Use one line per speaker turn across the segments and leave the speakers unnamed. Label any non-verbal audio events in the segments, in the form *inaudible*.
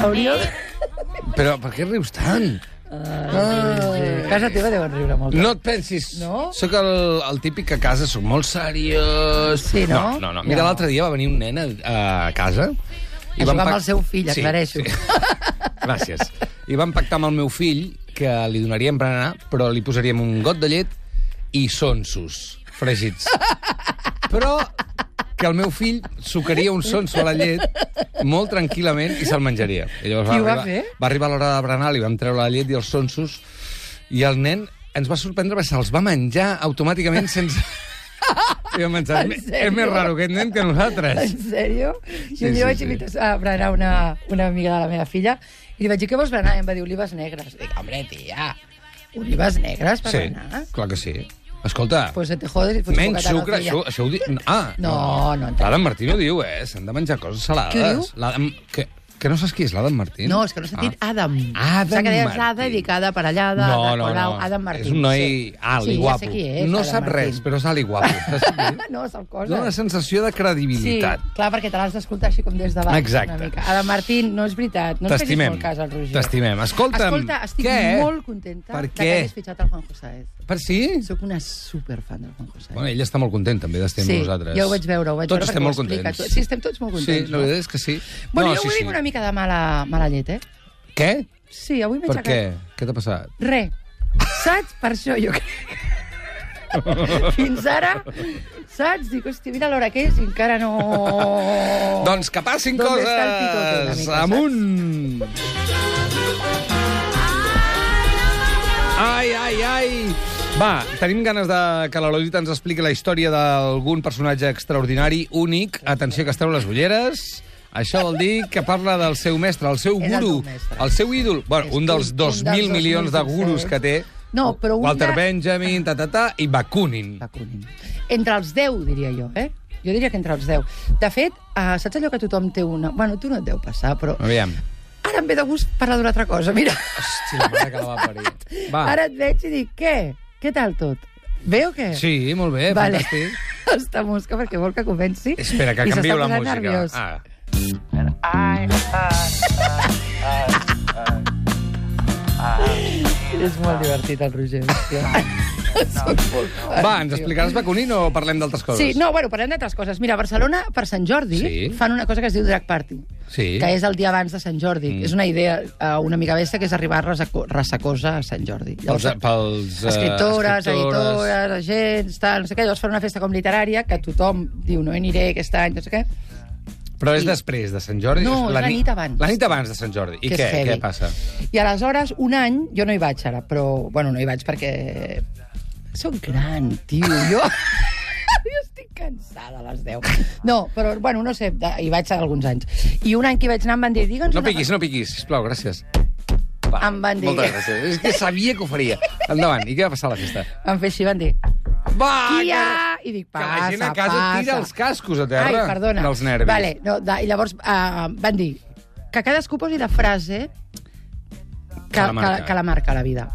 Hauríeu...
Però per què rius tant?
Ah,
Ah.
A casa teva deuen riure molt.
No et pensis.
No?
Sóc el, el típic que a casa sóc molt seriós.
Sí, no?
No, no. no. Mira,
No.
l'altre dia va venir un nen a, a casa...
A
vam
jugar amb
pac-
el seu fill, aclareixo.
Gràcies. I vam pactar amb el meu fill que li donaríem berenar, però li posaríem un got de llet i sonsos fregits. Però que el meu fill sucaria un sonso a la llet molt tranquil·lament i se'l menjaria. I llavors
Qui ho va
arribar,
fer?
va arribar l'hora de berenar, li vam treure la llet i els sonsos, i el nen ens va sorprendre perquè se'ls va menjar automàticament sense...
*laughs*
I vam pensar,
En sèrio?
és més raro aquest nen que nosaltres.
En sèrio?
Sí,
Sí, un dia
sí,
sí, vaig
sí.
invitar a berenar una, una amiga de la meva filla i li vaig dir, què vols berenar? I em va dir, olives negres. Dic, hombre, tia, olives negres per
Sí,
berenar?
clar que sí. Escolta,
Pues se te jodes i fots
Menys
un
sucre, això, això ho diu... Ah,
No, no entenc.
L'Adam Martí no diu, eh? S'han de menjar coses salades.
Què diu?
L'Adam... Que, que no saps qui és l'Adam Martí?
No, és que no s'ha dit Adam.
Ah. Adam
S'ha quedat
Martín.
Ada i cada parellada,
no,
Ada
no,
Colau,
no.
Adam Martín.
És un noi
sí.
alt
sí,
i guapo.
Ja sé qui és,
no
Adam
sap
Martín.
res, però és alt i
*laughs*
guapo. Saps què vull dir?
no,
*laughs*
són coses.
Dóna una sensació de
Sí,
credibilitat.
clar, perquè te l'has d'escoltar així com des de baix.
Exacte.
Una mica. Adam Martín, no és veritat. No ens facis
T'estimem.
molt cas al Roger.
T'estimem. Escolta'm,
Escolta, estic
què?
molt contenta
Per
de
què?
que hagis fitxat el Juan Josaez.
Per si?
Soc una superfan del Juan Josaez.
Bueno, ell està molt content, també, d'estar
Sí,
amb nosaltres.
jo ho vaig veure, ho vaig
tots
veure,
Estem
perquè
molt
ho explica
contents.
tot. Sí, estem tots molt contents,
Sí,
no?
la veritat és que sí.
Bueno,
no,
jo
sí,
avui
sí.
vinc una mica de mala, mala llet, eh?
Què?
Sí, avui m'he
Per
aixecat...
què? Què t'ha passat?
Re. Saps? Per això jo
*laughs*
crec. Fins ara, saps? Dic, hòstia, mira l'hora que és i encara no...
Doncs que passin
D'on
coses!
està el picote, una mica,
Amunt! Ai, ai, ai! Va, tenim ganes de que la Lolita ens expliqui la història d'algun personatge extraordinari, únic. Atenció, que esteu les ulleres. Això vol dir que parla del seu mestre, el seu
Era el
guru,
meu mestre.
el seu ídol. Bueno,
És
un dels
un-
2.000
un dels
milions de
2.500.
gurus que té.
No, però un
Walter
de-
Benjamin, ta, ta, ta, i Bakunin.
Bakunin. Entre els 10, diria jo, eh? Jo diria que entre els 10. De fet, eh, saps allò que tothom té una... Bueno, tu no et deu passar, però...
Aviam.
Ara em ve de gust parlar d'una altra cosa, mira.
Hòstia, la mare que la va parir. Va.
*laughs* Ara et veig i dic, què? Què tal tot? Bé o què?
Sí, molt bé,
vale.
fantàstic.
*laughs* Està mosca perquè vol que comenci.
Espera, que
I s'està
canvio la
posant
música.
Nerviós.
Ah.
És molt divertit, el Roger. *laughs* hòstia. Soc molt fan,
Va, ens
tio.
explicaràs Bakunin o parlem d'altres coses?
Sí, no, bueno, parlem d'altres coses. Mira, a Barcelona, per Sant Jordi,
Sí.
fan una cosa que es diu Drag Party,
Sí.
que és el dia abans de Sant Jordi. Mm. És una idea eh, una mica bèstia, que és arribar ressaco- ressacosa a Sant Jordi.
Pels, pels, eh,
escriptores,
escriptores.
editores, agents, tal, no sé què. Llavors fan una festa com literària que tothom diu no hi aniré aquest any, no sé què.
Però és
Sí.
després de Sant Jordi?
No, és la
ni-
nit abans.
La nit abans de Sant Jordi. I
que
què?
és heavy.
Què passa?
I aleshores, un any, jo no hi vaig ara, però, bueno, no hi vaig perquè... Soc gran, tio, jo... *laughs* jo estic cansada a les 10. No, però, bueno, no sé, de- hi vaig alguns anys. I un any que hi vaig anar em van dir, digue'ns...
No
una-
piquis, no piquis, sisplau, gràcies.
Em van dir
Moltes
que-
gràcies. És que sabia que ho faria. Endavant, i què va passar a la festa?
Em fer així, van dir...
Va,
Tia! I dic,
Ah, que la gent a
passa,
casa tira
passa.
els cascos a terra
Ai, perdona.
dels nervis.
Vale, no, de, i llavors uh, van dir que cadascú posi la frase que,
Que la marca.
que, que la marca la vida.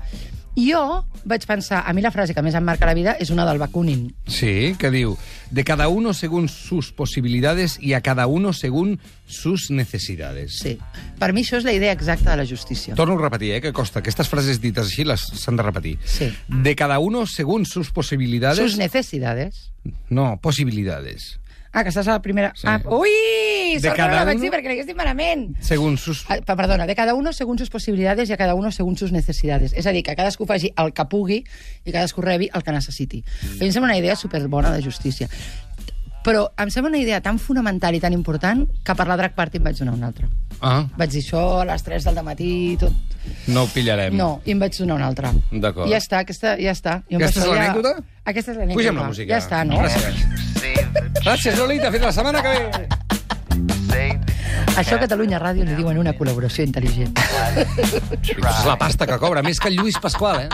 I jo vaig pensar, a mi la frase que més em marca la vida és una del Bakunin.
Sí, que diu... De cada uno según sus posibilidades y a cada uno según sus necesidades.
Sí. Per mi això és la idea exacta de la justícia.
Torno a repetir, eh, que costa. Aquestes frases dites així les s'han de repetir.
Sí.
De cada uno según sus posibilidades...
Sus necessidades.
No, posibilidades.
Ah, que estàs a la primera... Sí. Ah, ui!
De
Sort que
cada
no la vaig
un-
dir perquè l'hagués dit malament.
Según sus...
Ah, pe- Perdona, de cada uno según sus possibilitats i a cada uno según sus necessitats. És a dir, que cadascú faci el que pugui i cadascú rebi el que necessiti.
Mm.
A mi em sembla una idea superbona de justícia. Però em sembla una idea tan fonamental i tan important que per la Drag Party em vaig donar una altra.
Ah,
Vaig dir això a les 3 del matí i tot.
no ho pillarem.
No, i em vaig donar una altra.
D'acord.
I ja està, aquesta, ja està. Jo em
Aquesta
vaig
és
fer
l'anècdota?
Aquesta és l'anècdota.
Pugem la música.
Ja està, no?
Gràcies. Gràcies, Lolita. Fins la setmana
*laughs*
que ve.
Això a Catalunya Ràdio li diuen una col·laboració intel·ligent.
És la pasta que cobra, més que el Lluís Pasqual, eh?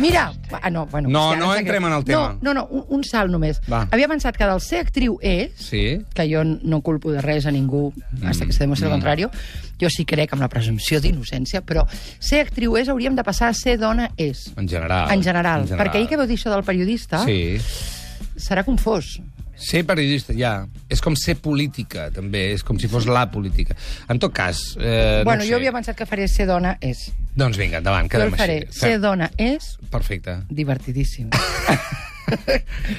Mira, ah, no, bueno...
No,
hòstia,
no
em sap
entrem
greu.
en el tema.
No, no, no un, un salt només.
Va.
Havia pensat que del ser actriu és,
Sí.
que jo no culpo de res a ningú,
Mm.
hasta que se demostri el contrari, jo sí crec amb la presumpció d'innocència, però ser actriu és hauríem de passar a ser dona és.
Ah, En general.
En general. Perquè ahir que vau dir això del periodista,
Sí.
serà confós.
Ser periodista, ja. És com ser política, també. És com si fos la política. En tot cas, eh,
bueno,
no ho sé.
jo havia pensat que faré ser dona és.
Doncs vinga, endavant,
Jo
quedem
el faré.
així.
Ser dona és
Perfecte.
divertidíssim.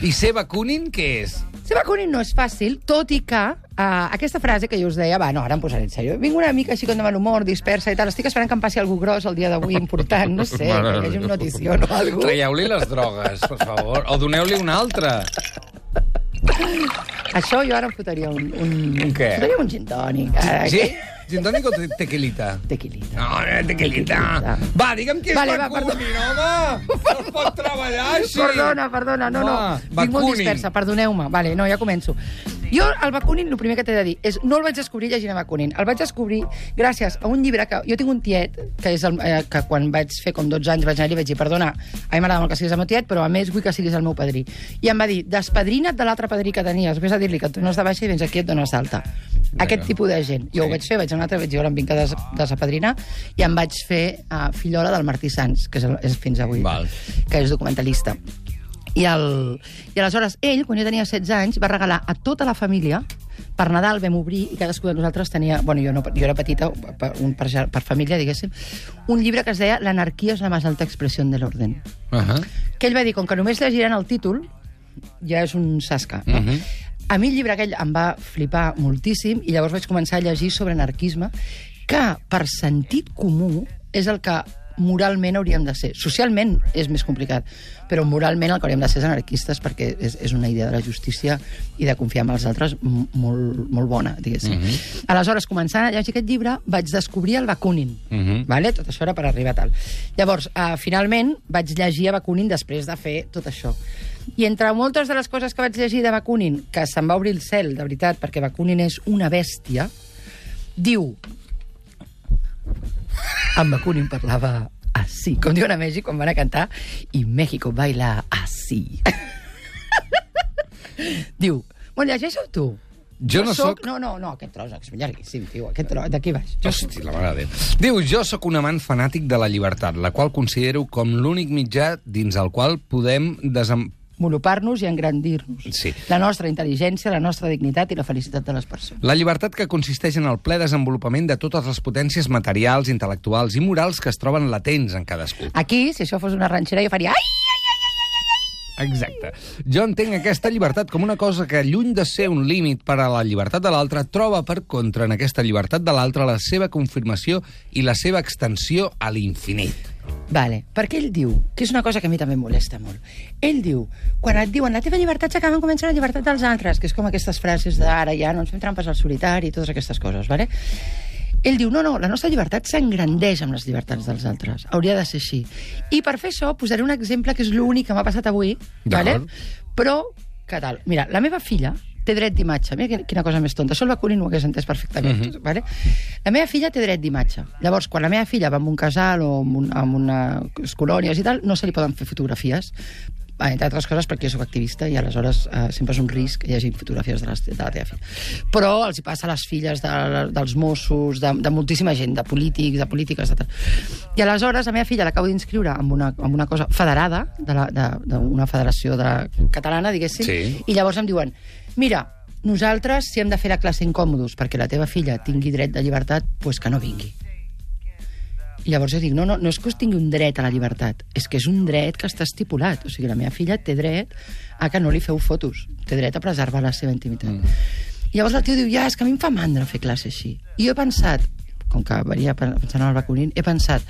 I ser vacunin, què és?
Ser vacunin no és fàcil, tot i que uh, aquesta frase que jo us deia, va, no, ara em posaré en sèrio. Vinc una mica així com de mal humor, dispersa i tal. Estic esperant que em passi algú gros el dia d'avui, important, no sé,
Mare
que hi hagi
de
un
Déu.
notició o alguna cosa.
Traieu-li les drogues, per favor. O doneu-li una altra.
Això jo ara em fotria un... un...
Un què?
Fotria un gin tònic. Ara,
Sí?
que-
Gin tònic o te- tequilita?
Tequilita.
No, eh, tequilita. Va, digue'm qui és
Vale, va,
vacunin, home!
*laughs*
No es pot treballar així!
Perdona, perdona, no, no.
Va,
Vinc molt
Ah, vacunin.
dispersa, perdoneu-me. Vale, no, ja començo. Jo el Bakunin, el primer que t'he de dir és no el vaig descobrir llegint a Bakunin. El vaig descobrir gràcies a un llibre que... Jo tinc un tiet, que és el, eh, que quan vaig fer com 12 anys vaig anar i li vaig dir, perdona, a mi m'agrada molt que siguis el meu tiet, però a més vull que siguis el meu padrí. I em va dir, despadrina't de l'altre padrí que tenies. Vés a dir-li que et dones de baixa i vens aquí et dones d'alta. Aquest tipus de gent. Jo
Sí.
ho vaig fer, vaig anar a un altre, vaig dir, ara em vinc a des, desapadrinar, i em vaig fer uh, fillola del Martí Sans, que és, el, és fins avui,
Val.
que és documentalista. I, el, I aleshores ell, quan jo tenia 16 anys, va regalar a tota la família per Nadal vam obrir i cadascú de nosaltres tenia... Bueno, jo, no, jo era petita, per, un, per, ja- per família, diguéssim, un llibre que es deia L'anarquia és la més alta expressió de l'orden.
Uh -huh.
Que ell va dir, com que només llegiran el títol, ja és un sasca. No?
Mhm.
A mi el llibre aquell em va flipar moltíssim i llavors vaig començar a llegir sobre anarquisme, que per sentit comú és el que moralment hauríem de ser. Socialment és més complicat, però moralment el que hauríem de ser és anarquistes perquè és, és una idea de la justícia i de confiar en els altres m- molt, molt bona, diguéssim. Mm -hmm. Aleshores, començant a llegir aquest llibre, vaig descobrir el Bakunin. Mm
Mhm.
-hmm. vale? Tot això era per arribar a tal. Llavors, uh, finalment, vaig llegir a Bakunin després de fer tot això. I entre moltes de les coses que vaig llegir de Bakunin, que se'm va obrir el cel, de veritat, perquè Bakunin és una bèstia, diu... En Bakunin parlava així, com diuen a Mèxic quan van a cantar, i México baila així. *laughs* diu, bueno, llegeix-ho tu.
Jo no sóc...
No, no, no, aquest tros, és llarguíssim, tio, aquest tros, d'aquí baix. Jo sóc-
Hosti, la mare de Déu. Diu, jo sóc un amant fanàtic de la llibertat, la qual considero com l'únic mitjà dins el qual podem desem...
Monopar-nos i engrandir-nos.
Sí.
La nostra intel·ligència, la nostra dignitat i la felicitat de les persones.
La llibertat que consisteix en el ple desenvolupament de totes les potències materials, intel·lectuals i morals que es troben latents en cadascú.
Aquí, si això fos una ranxera, jo faria... Ai!
Exacte. Jo entenc aquesta llibertat com una cosa que, lluny de ser un límit per a la llibertat de l'altre, troba per contra en aquesta llibertat de l'altre la seva confirmació i la seva extensió a l'infinit.
Vale, perquè ell diu, que és una cosa que a mi també em molesta molt, ell diu, quan et diuen la teva llibertat s'acaba en començar la llibertat dels altres, que és com aquestes frases d'ara ja no ens fem trampes al solitari i totes aquestes coses, vale? Ell diu, no, no, la nostra llibertat s'engrandeix amb les llibertats dels altres. Hauria de ser així. I per fer això posaré un exemple que és l'únic que m'ha passat avui, vale?
D'acord.
però que tal? Mira, la meva filla té dret d'imatge. Mira quina- quina cosa més tonta. Això el Bakunin ho hagués entès perfectament. vale? La meva filla té dret d'imatge. Llavors, quan la meva filla va a un casal o a, un, a unes colònies i tal, no se li poden fer fotografies Ah, entre altres coses perquè jo sóc activista i aleshores eh, sempre és un risc que hi hagi fotografies de, les, de la teva filla. Però els hi passa a les filles de, dels Mossos, de, de moltíssima gent, de polítics, de polítiques, etc. I aleshores la meva filla l'acabo d'inscriure en, una, en una cosa federada, d'una de la- de, d'una federació de, catalana, diguéssim,
Sí.
i llavors em diuen, mira, nosaltres, si hem de fer la classe incòmodos perquè la teva filla tingui dret de llibertat, pues que no vingui. I llavors jo dic, no, no, no és que us tingui un dret a la llibertat, és que és un dret que està estipulat. O sigui, la meva filla té dret a que no li feu fotos, té dret a preservar la seva intimitat. Mm. I llavors el tio diu, ja, és que a mi em fa mandra fer classe així. I jo he pensat, com que venia pensant en el vacunin, he pensat,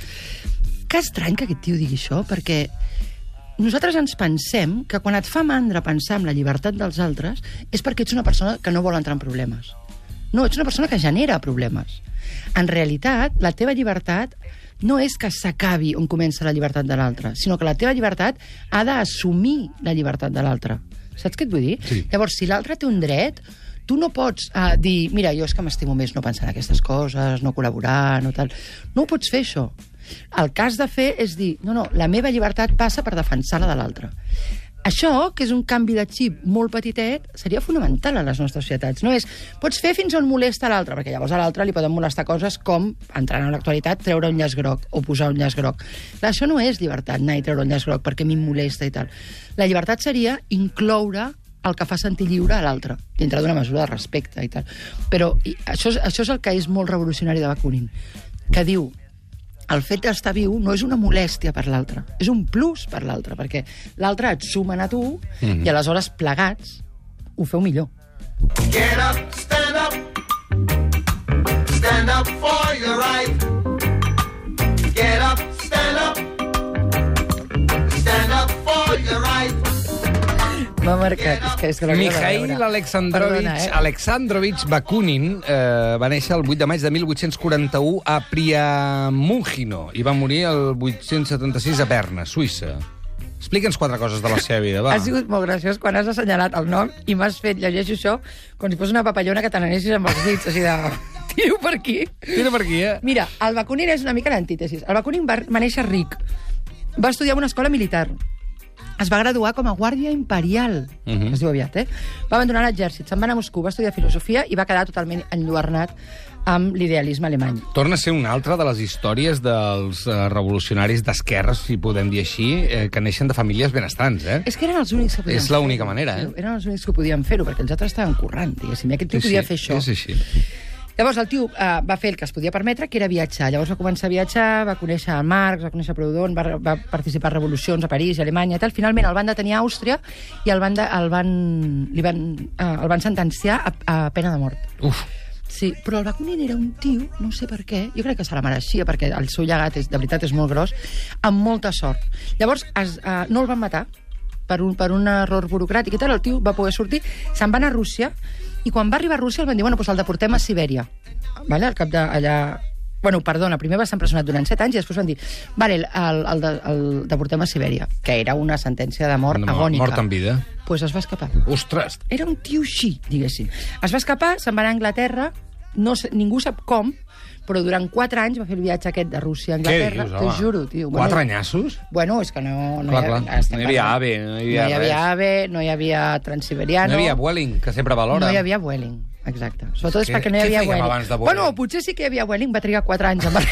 que estrany que aquest tio digui això, perquè nosaltres ens pensem que quan et fa mandra pensar en la llibertat dels altres és perquè ets una persona que no vol entrar en problemes. No, ets una persona que genera problemes. En realitat, la teva llibertat no és que s'acabi on comença la llibertat de l'altre, sinó que la teva llibertat ha d'assumir la llibertat de l'altre. Saps què et vull dir?
Sí.
Llavors, si l'altre té un dret, tu no pots uh, dir, mira, jo és que m'estimo més no pensar en aquestes coses, no col·laborar, no tal... No ho pots fer, això. El cas de fer és dir, no, no, la meva llibertat passa per defensar la de l'altre. Això, que és un canvi de xip molt petitet, seria fonamental a les nostres societats. No és, pots fer fins on molesta l'altre, perquè llavors a l'altre li poden molestar coses com, entrant en l'actualitat, treure un llaç groc o posar un llaç groc. Clar, això no és llibertat, anar i treure un llaç groc perquè a mi em molesta i tal. La llibertat seria incloure el que fa sentir lliure a l'altre, dintre d'una mesura de respecte i tal. Però i això, és, això és el que és molt revolucionari de Bakunin, que diu el fet d'estar viu no és una molèstia per l'altre, és un plus per l'altre, perquè l'altre et sumen a tu i aleshores plegats ho feu millor.
Get up, stand up. Stand up for your right. Get up, stand up. Stand up for your right.
M'ha marcat. És que, és que no acabo de
Mikhail
veure.
Alexandrovich,
Perdona, eh?
Alexandrovich Bakunin eh, va néixer el 8 de maig de 1841 a Priamungino i va morir el 876 a Berna, Suïssa. Explica'ns quatre coses de la seva vida, va.
Ha sigut molt graciós quan has assenyalat el nom i m'has fet llegeixo això com si fos una papallona que te n'anessis amb els dits, així de... *laughs* Tiro per aquí.
Tira per aquí, eh?
Mira, el Bakunin és una mica l'antítesis. El Bakunin va, va néixer ric. Va estudiar en una escola militar. Es va graduar com a guàrdia imperial. Uh
Mhm.
-huh. Es diu aviat, eh? Va abandonar l'exèrcit, se'n va anar a Moscou, va estudiar filosofia i va quedar totalment enlluernat amb l'idealisme alemany.
Torna a ser una altra de les històries dels eh, revolucionaris d'esquerres, si podem dir així, eh, que neixen de famílies benestants, eh?
És que eren els únics que podien
És l'única manera, eh?
fer-ho. Eren els únics que podien fer-ho, perquè els altres estaven currant, diguéssim. I aquest tio
Sí,
podia
sí,
fer això.
És així.
Llavors el tio eh, va fer el que es podia permetre, que era viatjar. Llavors va començar a viatjar, va conèixer a Marx, va conèixer a Proudhon, va, va participar a revolucions a París, a Alemanya i tal. Finalment el van detenir a Àustria i el van, de, el van, li van, eh, el van sentenciar a, a pena de mort.
Uf,
Sí, però el Bakunin era un tio, no sé per què, jo crec que se la mereixia, perquè el seu llegat, és, de veritat, és molt gros, amb molta sort. Llavors, es, eh, no el van matar per un, per un error burocràtic i tal, el tio va poder sortir, se'n va anar a Rússia, i quan va arribar a Rússia el van dir, bueno, doncs el deportem a Sibèria, vale? al cap de, allà... Bueno, perdona, primer va ser empresonat durant 7 anys i després van dir, vale, el, el, el, de- el deportem a Sibèria, que era una sentència de mort
Una mort-
agònica.
mort en vida.
Doncs pues es va escapar
ostres,
era un tio així, diguéssim. Es va escapar, se'n va anar a Anglaterra, no sé, ningú sap com, però durant 4 anys va fer el viatge aquest de Rússia a
què
Anglaterra.
dius,
T'ho
home?
juro, tio.
Quatre anyassos?
Bueno, és que no, no
Clar,
hi havia...
clar.
estem
No hi havia
parlant-
AVE, no hi
no
havia
hi havia
res.
AVE, no hi havia Transiberiano...
No hi havia Welling, que sempre valora.
No hi havia Welling, exacte. Sobretot és
Què-
perquè no hi
què
havia
fèiem
Welling.
abans de Welling?
Bueno, potser sí que hi havia Welling, va trigar 4 anys a
*laughs*
mar-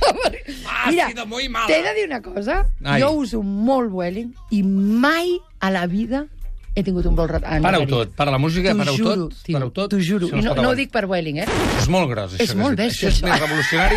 a mar-
Ah, Ha sido muy mala.
t'he de dir una cosa.
Ai.
Jo uso molt Welling i mai a la vida he tingut un vol rat- en
Pareu
requerit.
tot, para la música,
T'ho
pareu
juro,
tot,
tio,
pareu tot.
T'ho juro.
Això no
I
es
no, no
pot
ho
aguantar.
dic per Welling, eh?
És molt gros, això.
És
que
molt
has dit.
bèstia,
Això és
això.
més revolucionari...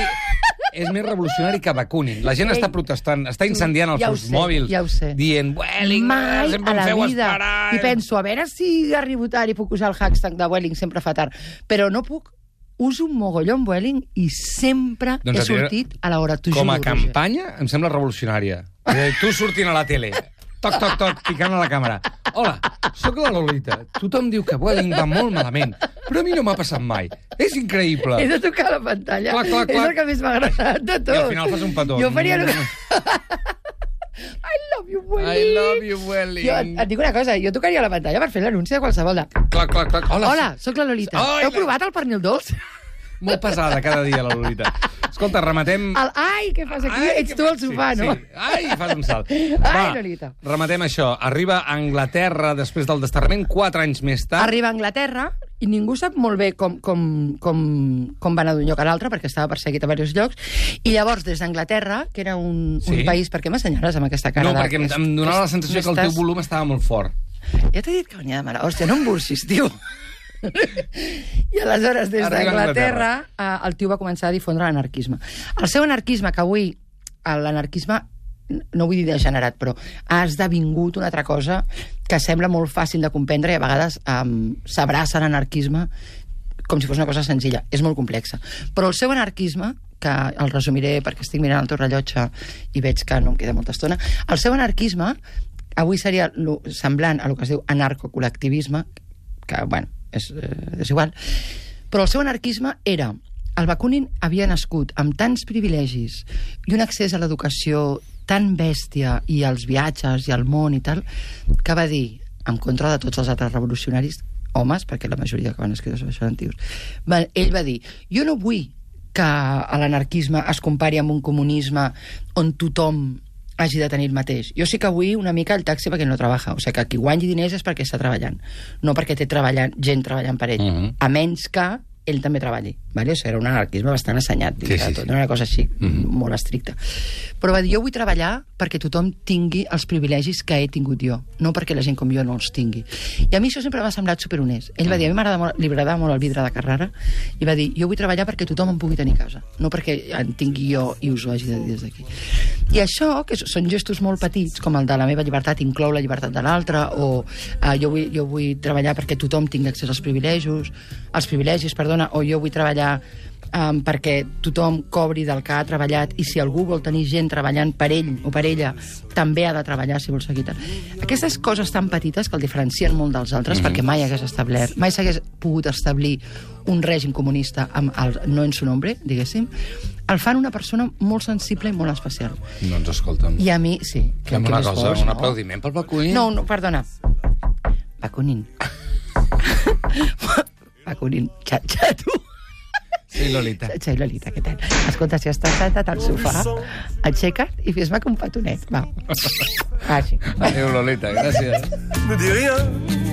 és més revolucionari que Bakunin. La gent
Ei,
està protestant, està incendiant els
ja ho
seus
sé,
mòbils,
ja ho sé.
dient, Welling,
Mai
eh? sempre
a la
em feu
vida.
esperar. eh?
I penso, a veure si arribo tard i puc usar el hashtag de Welling, sempre fa tard. Però no puc. Uso un mogollon Welling i sempre
Doncs
he
a veure,
sortit a l'hora. T'ho
Com
juro,
a campanya, em sembla revolucionària. És a dir, Tu sortint a la tele, toc, toc, toc, picant a la càmera. Hola, sóc la Lolita. Tothom diu que Welling va molt malament, però a mi no m'ha passat mai. És increïble.
Roger. He de tocar la pantalla.
Clac, clac,
És
clac.
el que més m'ha agradat de tot.
I al final fas un petó.
Jo faria... el-
Mm.
*laughs* I love you, Welling.
I love you, Welling.
Jo, et dic una cosa, jo tocaria la pantalla per fer l'anunci de qualsevol. De...
Clac, clac, clac. Hola,
Hola, sóc la Lolita.
Ai,
Heu
la-
provat el pernil dolç?
Molt pesada cada dia, la Lolita. Escolta, rematem...
El, ai, què fas aquí? Ai, Ets
que
tu
fa-
al sofà,
sí,
no?
Sí. Ai, fas un salt.
Ai,
Va,
Lolita.
rematem això. Arriba a Anglaterra després del desterrament, quatre anys més tard.
Arriba a Anglaterra i ningú sap molt bé com, com, com, com va anar d'un lloc a l'altre, perquè estava perseguit a diversos llocs, i llavors des d'Anglaterra, que era un, sí.
Sí.
un país... Per què m'assenyales amb aquesta cara?
no,
de-
perquè em, em donava la sensació que el teu
M'estàs-
volum estava molt fort.
Ja t'he dit que venia de mala. Hòstia, no em bursis, tio. I aleshores, des
Arriba a
d'Anglaterra,
Anglaterra.
eh, el tio va començar a difondre l'anarquisme. El seu anarquisme, que avui eh, l'anarquisme no vull dir degenerat, però ha esdevingut una altra cosa que sembla molt fàcil de comprendre i a vegades um, s'abraça l'anarquisme com si fos una cosa senzilla. És molt complexa. Però el seu anarquisme, que el resumiré perquè estic mirant el teu rellotge i veig que no em queda molta estona, el seu anarquisme avui seria lo, semblant a lo que es diu anarcocolectivisme, que, bueno, és, eh, és igual, però el seu anarquisme era el Bakunin havia nascut amb tants privilegis i un accés a l'educació tan bèstia i als viatges i al món i tal, que va dir, en contra de tots els altres revolucionaris, homes, perquè la majoria que van escriure sobre això eren tios, va, ell va dir, jo no vull que l'anarquisme es compari amb un comunisme on tothom hagi de tenir el mateix. Jo sí que vull una mica el taxi perquè no treballa. O sigui, que qui guanyi diners és perquè està treballant, no perquè té treballant, gent treballant per ell.
Mhm.
A menys que ell també treballi. Vale? O sigui, era un anarquisme bastant assenyat,
Sí,
dins
sí,
de tot.
sí.
Era una cosa així,
Mhm.
molt estricta. Però va dir, jo vull treballar perquè tothom tingui els privilegis que he tingut jo, no perquè la gent com jo no els tingui. I a mi això sempre m'ha semblat superhonest. Ell va dir, a mi m'agrada molt, li agradava molt el vidre de Carrara, i va dir, jo vull treballar perquè tothom em pugui tenir a casa, no perquè en tingui jo i us ho hagi de dir des d'aquí. I això, que són gestos molt petits, com el de la meva llibertat inclou la llibertat de l'altre, o eh, jo, vull, jo vull treballar perquè tothom tingui accés als privilegis, als privilegis, perdona, o jo vull treballar um, perquè tothom cobri del que ha treballat i si algú vol tenir gent treballant per ell o per ella, també ha de treballar si vol seguir. tra- Aquestes coses tan petites que el diferencien molt dels altres mm -hmm.
Mhm.
perquè mai hagués establert, mai s'hagués pogut establir un règim comunista amb el no en su nombre, diguéssim, el fan una persona molt sensible i molt especial.
Doncs escolta'm.
I a mi, sí. crec
Fem
que
una
més
cosa,
vols,
un
no?
aplaudiment pel Bacuní.
No, no, perdona.
*laughs*
Bakunin. Bakunin. Xa- Xato.
Sí, Lolita.
Xai Lolita, què tal? Escolta, si estàs sentat al sofà, aixeca't i fes-me com un petonet. Va. Així.
Adéu, Lolita, gràcies.
Ne dis rien,